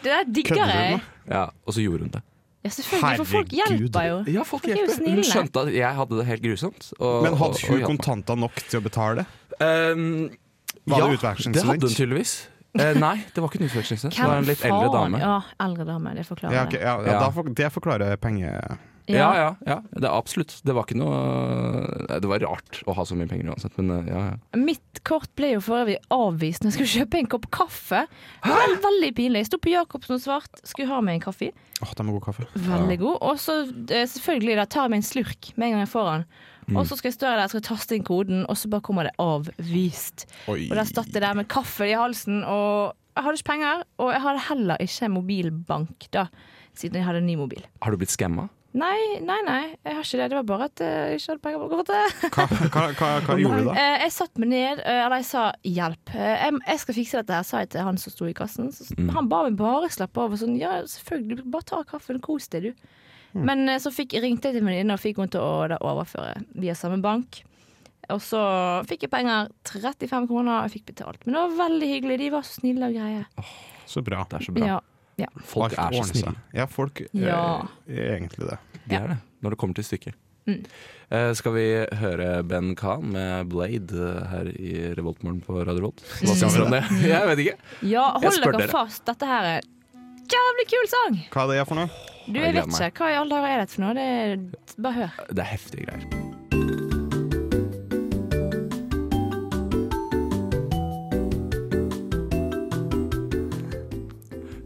C: Det der digger
B: Kødder du
C: jeg.
I: Ja, og så gjorde hun det.
C: Ja, selvfølgelig, for folk
B: Herregud.
C: hjelper jo.
I: Ja, folk
C: er jo
I: hjelper. Hun
C: snille.
I: skjønte at jeg hadde det helt grusomt. og-
B: Men
I: og-
B: hadde
I: og
B: hun
I: hjalp meg.
B: kontanter nok til å betale?
I: Um,
B: Var det
I: det
B: utvekslingsstudent?
I: hadde hun tydeligvis. Eh, nei, det var ikke en utvekslingsstudent. Det var en litt eldre dame. Ja,
C: Ja, eldre dame, det forklarer
B: Ja, ok, ja, ja,
I: Ja.
B: da for, det forklarer penge...
C: det.
I: ja, ja, det er absolutt. Det var ikke noe Det var rart å ha så mye penger uansett, men eh, ja, ja.
C: Mitt kort ble jo for øvrig avvist når jeg skulle kjøpe en kopp kaffe. Vel, veldig pinlig. Jeg sto på Jacobsen og svart, skulle ha meg en kaffe.
B: Åh, de har god kaffe.
C: Veldig god. Og så eh, selvfølgelig da, tar jeg meg en slurk med en gang jeg får den. Og så skal jeg stå der jeg skal taste inn koden, og så bare kommer det avvist.
B: Oi.
C: Og der satt jeg der med kaffe i halsen, og jeg hadde ikke penger. Og jeg hadde heller ikke mobilbank da, siden jeg hadde en ny mobil.
I: Har du blitt skamma?
C: Nei, nei, nei, jeg har ikke det. Det var bare at eh, jeg ikke hadde penger på [LAUGHS] kortet.
B: Hva, hva, hva,
C: [LAUGHS]
B: hva gjorde du da?
C: Eh, Jeg satte meg ned, eh, eller jeg sa 'hjelp'. Eh, Jeg, jeg skal fikse dette her, sa jeg til han som sto i kassen. Så, Han ba meg bare slappe av og sånn 'ja, selvfølgelig, bare ta kaffen, kos deg, du'. Men eh, så fikk, ringte jeg til en venninne og fikk henne til å da, overføre via samme bank. Og så fikk jeg penger, 35 kroner, og jeg fikk betalt. Men det var veldig hyggelig, de var så snille og greie.
B: Så bra.
I: Det er så bra.
C: Ja.
B: Alt
I: Folk er så
B: ordner
I: snille.
B: seg. Ja, folk eh,
C: Ja.
B: er egentlig det.
I: De er det, når det kommer til stykket. Eh, skal vi høre Ben Khan med Blade eh, her i Revoltmorgen på Radio Revolt? Hva syns dere om det? [LAUGHS] Jeg vet ikke.
C: ja,
I: Jeg
C: hold
I: spør
C: dere
I: dere.
C: fast, dette her er jævlig kul sang!
B: Hva er det jeg for noe?
C: Du,
I: Jeg
C: jeg vet
I: gleder meg.
C: ikke. Hva i alle dager er dette for noe? Det er, bare hør.
I: Det er heftige greier.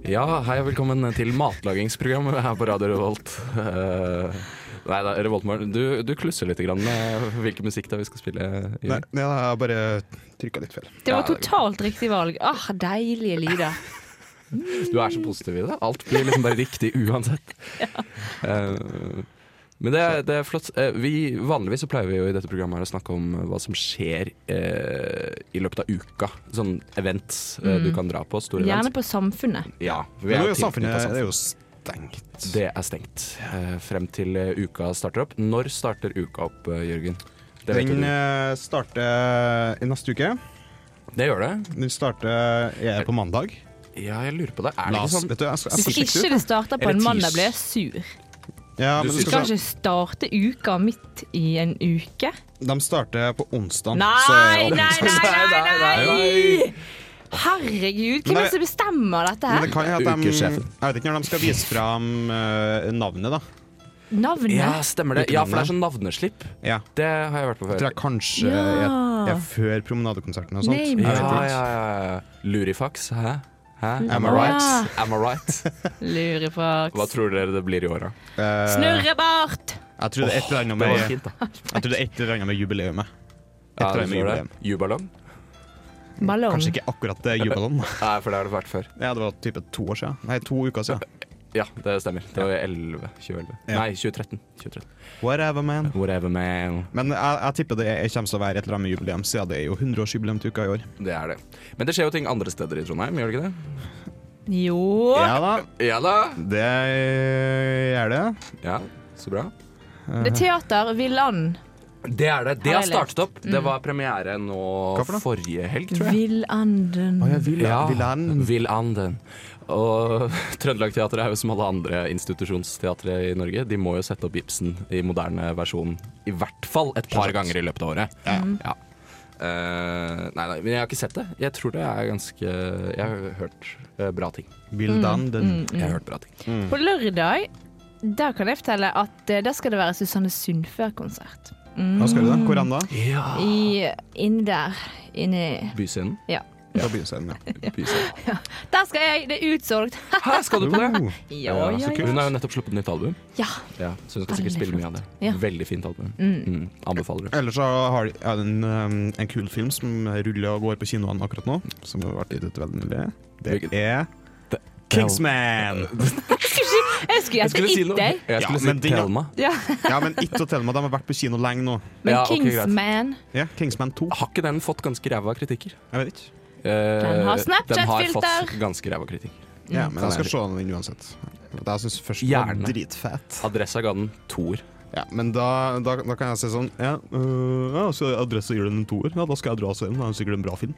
I: Ja, hei og velkommen til matlagingsprogrammet her på Radio Revolt. Eh, Nei da, Revoltmorgen, du, du klusser litt grann med hvilken musikk da vi skal spille. Jørgen.
B: Nei, nei, jeg har bare trykka litt feil.
C: Det var
I: Ja, det-
C: totalt riktig valg. Ah, deilige lyder.
I: Du er så positiv i det. Alt blir liksom bare riktig uansett. Eh, Men det er, det er flott. Eh, Vi, vanligvis så pleier vi jo i dette programmet her å snakke om eh, hva som skjer eh, i løpet av uka. Sånn events eh, du kan dra på. Store
C: Gjerne
I: events.
C: på Samfunnet.
I: Ja, for vi
B: Men
I: er
B: nå er
I: jo
B: jo samfunnet
I: tilknyttet
B: det er jo stengt.
I: Det er stengt eh, frem til eh, uka starter opp. Når starter uka opp, eh, Jørgen? Det, vet jo
B: Den
I: du.
B: eh, starter i neste uke.
I: det gjør det?
B: Den starter jeg på mandag.
I: Ja, jeg lurer på det. Er det
B: La
I: ikke
B: oss,
I: sånn
B: vet du, jeg skal, jeg
C: Hvis
B: skal sjekke
C: ikke
B: det ut.
C: det starter på
I: Er det
C: en mandag,
I: tis?
C: blir jeg sur.
B: Ja, men du
I: Du
C: Du
I: synes-
B: skal
C: kan
B: se.
C: ikke starte uka midt i en uke.
B: De starter på onsdag.
C: Nei,
B: [LAUGHS]
C: nei, nei,
I: Nei,
C: nei!
I: nei,
C: nei. Herregud, hvem
B: Men
C: er
B: det-
C: det som bestemmer dette
B: Men
C: her?
B: det kan jo at de, jeg
I: Ukesjefen.
B: vet ikke når de skal vise fram eh, navnet, da.
I: Ja,
C: Navnet?
I: stemmer det. Ja, for det er sånn navneslipp.
B: Ja.
I: Det har jeg vært på
B: Jeg
I: før.
B: tror jeg kanskje
C: Ja.
B: er, er før promenadekonserten og sånt. Jeg
C: Name
I: Ja,
B: vet
I: ja,
B: ikke.
I: ja, ja. Lurifax, hæ? Hæ? Am I
B: Ja.
I: right? Am I right? Hva
C: Lurefaks.
I: tror dere det blir i år, da?
B: Eh,
C: Snurrebart!
B: Jeg tror det er et eller annet
I: Det var
B: med,
I: fint, da.
B: jeg tror det er et eller annet med jubileumet. Et
I: Ja,
B: eller
I: det
B: annet med
I: tror jeg.
B: jubileum.
I: Jubalong?
C: Ballong.
B: Kanskje ikke akkurat det jubileum.
I: Nei, for det har det vært før.
B: Ja, det var type to år siden. Nei, to uker siden.
I: Ja, det stemmer. Det var i 11, 2011.
B: Ja.
I: Nei, 2013. 2013.
B: Whatever, man.
I: Whatever, man.
B: Men jeg, jeg tipper det er- kommer til å være et eller annet med jubileum, siden det er jo 100-årsjubileum til uka i år.
I: Det er det. Men det skjer jo ting andre steder i Trondheim, gjør det ikke det?
C: Jo.
B: Ja da,
I: Ja da.
B: det gjør det.
I: Ja, så bra.
C: Det er teater Villand.
I: Det er det. Det
C: Har
I: har
C: jeg Mm.
I: startet opp. Det var premiere nå
B: Hva for noe?
I: forrige helg, tror jeg.
C: Villanden.
B: vil,
I: Vil Anden. Og [LAUGHS] Trøndelag Teater er jo som alle andre institusjonsteatre i Norge. De må jo sette opp Ibsen i moderne versjon i hvert fall et par ganger i løpet av året.
C: Mm.
I: Ja. Eh, nei, nei, men jeg har ikke sett det. Jeg tror det er ganske Jeg har hørt eh, bra ting.
B: den.
I: Jeg
C: Mm.
I: har hørt bra ting.
C: På lørdag der kan jeg fortelle at eh, der skal det være Susanne Sundfør-konsert.
B: Hva skal du da? Hvor enn da?
I: Ja.
C: I, inni der. Inni [LAUGHS]
I: Byscenen.
C: Ja.
B: Fra byscenen, ja.
I: Byscenen.
C: Der skal jeg! Det er utsolgt.
I: Hæ, skal du på det?
B: Oh,
C: ja,
I: Uh. Ja,
C: ja,
I: så kult. Hun har jo nettopp sluppet nytt album,
C: ja.
I: ja, så hun skal
C: Veldig
I: sikkert spille mye av det.
C: Ja.
I: Veldig fint album. Mm, anbefaler det.
B: Ellers så har de er det en, um, en kul film som ruller og går på kinoene akkurat nå, som har vært gitt ut veldig nylig. Det
I: Hvilken?
B: er
I: Det-
B: Kingsman! [LAUGHS]
C: Jeg skulle
I: Jeg
C: gjette
I: skulle si
C: It
I: noe.
C: Day.
I: Jeg
B: Ja,
I: skulle
B: men
I: si
B: din-
I: Thelma.
C: Ja.
B: Ja, men It og Thelma de har vært på kino lenge nå.
C: Men
I: Ja, ok, greit.
C: Kingsman
B: Ja, Kingsman 2.
I: Har ikke den fått ganske ræva kritikker? Eh,
B: Jeg vet ikke.
I: Den
C: har
I: Den har fått
C: Snapchat-filter.
I: ganske ræva kritikk.
B: Ja, men jeg
I: Sånn er
B: skal
I: det.
B: se den uansett. Jeg syns først den var
I: Gjerne.
B: dritfett.
I: Adressa ga den toer.
B: Ja, men da, da, da kan jeg si sånn Ja, øh, ja så adresse gir den en toer. Ja, da skal jeg dra og se den. Det er sikkert en bra film.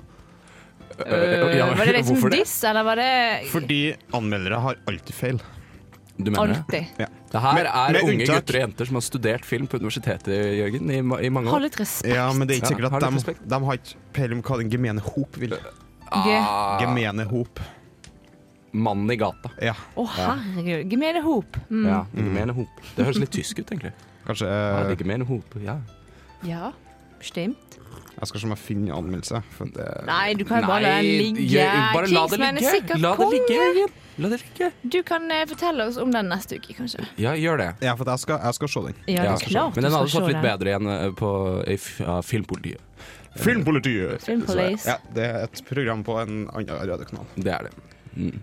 I: Øh, ja,
C: Eh, Var det liksom
I: hvorfor det?
C: diss, eller var det
B: Fordi anmeldere har alltid feil.
I: Du mener det?
C: alltid?
B: Ja.
I: Det her
B: Med-
I: er
B: med
I: unge
B: unntak.
I: gutter og jenter som har studert film på universitetet, Jørgen, i, ma- i mange
C: Ha
I: år.
C: litt respekt.
B: Ja, men det er ikke
I: Ja,
B: sikkert
I: har
B: at
I: litt
B: de,
I: respekt. Eh,
B: de har ikke peiling på hva den gemene hop vil.
I: Ah,
B: Gemene hop.
I: Mannen i gata.
B: Ja,
C: Å,
I: Ah.
C: herregud. Gemene hop. Mm.
I: Ja, Gemene hop. Det høres litt tysk ut, egentlig.
B: kanskje
I: Ja,
B: eh,
I: det er Gemene hop, ja.
C: Ja, bestemt.
B: Jeg skal se om jeg finner anmeldelse. For det,
C: Nei, du kan jo bare la den
I: Nei,
C: ligge.
I: Jørgen, bare la det
C: Kingsman er
I: ligge.
C: sikkert
I: La det ligge,
C: konge.
I: Jørgen. La det ligge.
C: Du kan eh, fortelle oss om den neste uke, kanskje.
I: Ja, gjør det.
B: ja, for jeg skal, jeg skal se den.
C: Ja,
I: Ja.
C: det er klart.
I: Men den
C: du
I: hadde
C: skal
I: fått
C: se
I: litt
C: den.
I: bedre igjen eh, på, i f- av Filmpolitiet.
B: Filmpolitiet!
C: Film Police.
B: Ja, det er et program på en annen radiokanal.
I: Det er det. Mm.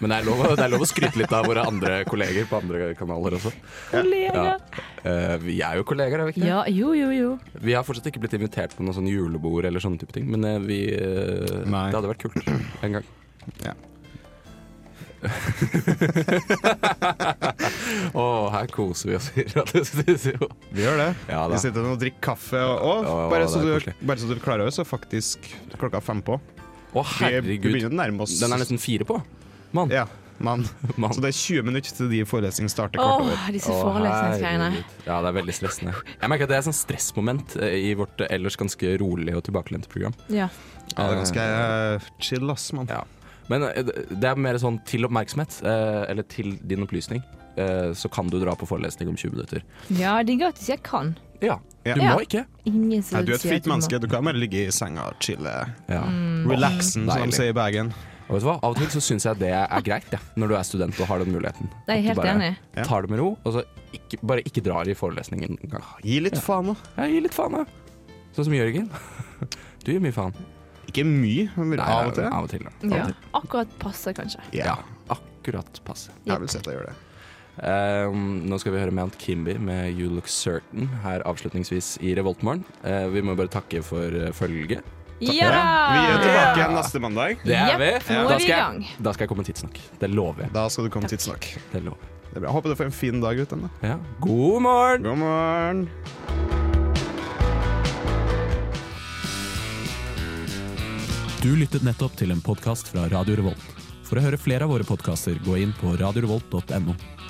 I: Men det er, lov, det er lov å skryte litt av våre andre kolleger på andre kanaler også.
C: Kollega.
I: Ja. Eh, vi er jo kolleger, er vi ikke det?
C: Ja, jo, jo, jo.
I: Vi har fortsatt ikke blitt invitert på noe sånn julebord eller sånne type ting, men eh, vi eh,
B: Nei.
I: Det hadde vært kult
B: [CLEARS THROAT]
I: en gang. [LAUGHS]
B: Ja.
I: Å, her koser vi oss i radiostudio.
B: Vi gjør det.
I: Ja da.
B: vi sitter nå og drikker kaffe. Og, og,
I: Ja,
B: bare,
I: det
B: så
I: er
B: du,
I: koselig.
B: bare så du klarer over, så er faktisk klokka fem på. Vi,
I: Å,
B: vi
I: herregud.
B: begynner å nærme oss
I: Den er nesten fire på. [LAUGHS] Mann.
B: Ja, mann.
I: Mann.
B: Så det er 20 minutter til de forelesningene starter
C: Åh,
B: kvart over.
C: disse
I: Å,
C: forelesningsgreiene.
I: herregud. Ja, det er veldig stressende. Jeg merker at det er et sånn stressmoment eh, i vårt eh, ellers ganske rolige og tilbakelente program.
C: Ja.
B: Ja, det er ganske eh, chill, ass, mann.
I: Ja. Men eh, det er mer sånn til oppmerksomhet, eh, eller til din opplysning, eh, så kan du dra på forelesning om 20 minutter.
C: ja, de gratis jeg kan.
I: Ja.
B: Ja.
I: Du
C: Ja.
I: må ikke.
C: Ingen som
B: Nei, du er et
C: sier at
B: fint
C: må.
B: menneske. Du kan bare ligge i senga og chille.
I: Ja.
B: Relaxen, som
I: Deilig.
B: de sier i Bergen.
I: Mm. Og vet du hva? Av og til så syns jeg det er greit, ja, når du er student og har den muligheten.
C: Nei, jeg er
I: At du
C: helt
I: bare
C: enig.
B: Ja.
I: Tar det med ro, og så ikke, bare ikke drar i forelesningen engang.
B: Gi litt faen, da.
I: Ja, gi litt faen, da. Sånn som Jørgen. [LAUGHS] Du gir mye faen.
B: Ikke mye, men
I: Nei,
B: av og til.
I: Av og til, ja. Av
C: Ja.
I: og til.
C: Akkurat passe, kanskje.
I: ja.
B: Ja,
I: Akkurat passe.
B: jeg vil si at jeg gjør det.
I: Eh, nå skal vi høre Mount Kimby med You Look Certain her avslutningsvis i Revoltmorgen. Eh, vi må bare takke for eh, følget.
C: Ja da!
I: Ah,
B: Vi er tilbake igjen neste mandag.
I: Det er
C: Jepp,
I: vi.
C: nå er vi
I: Da
C: i
I: skal jeg-
C: gang.
I: Da skal jeg komme med tidssnakk. Det lover jeg.
B: Da skal du komme tidsnok.
I: Det lover. jeg.
B: Det er bra. Håper du får en fin dag ute. Anne.
I: Ja. God morgen!
B: God morgen.
J: Du lyttet nettopp til en podkast fra Radio Revolt. For å høre flere av våre podkaster, gå inn på radiorevolt.no.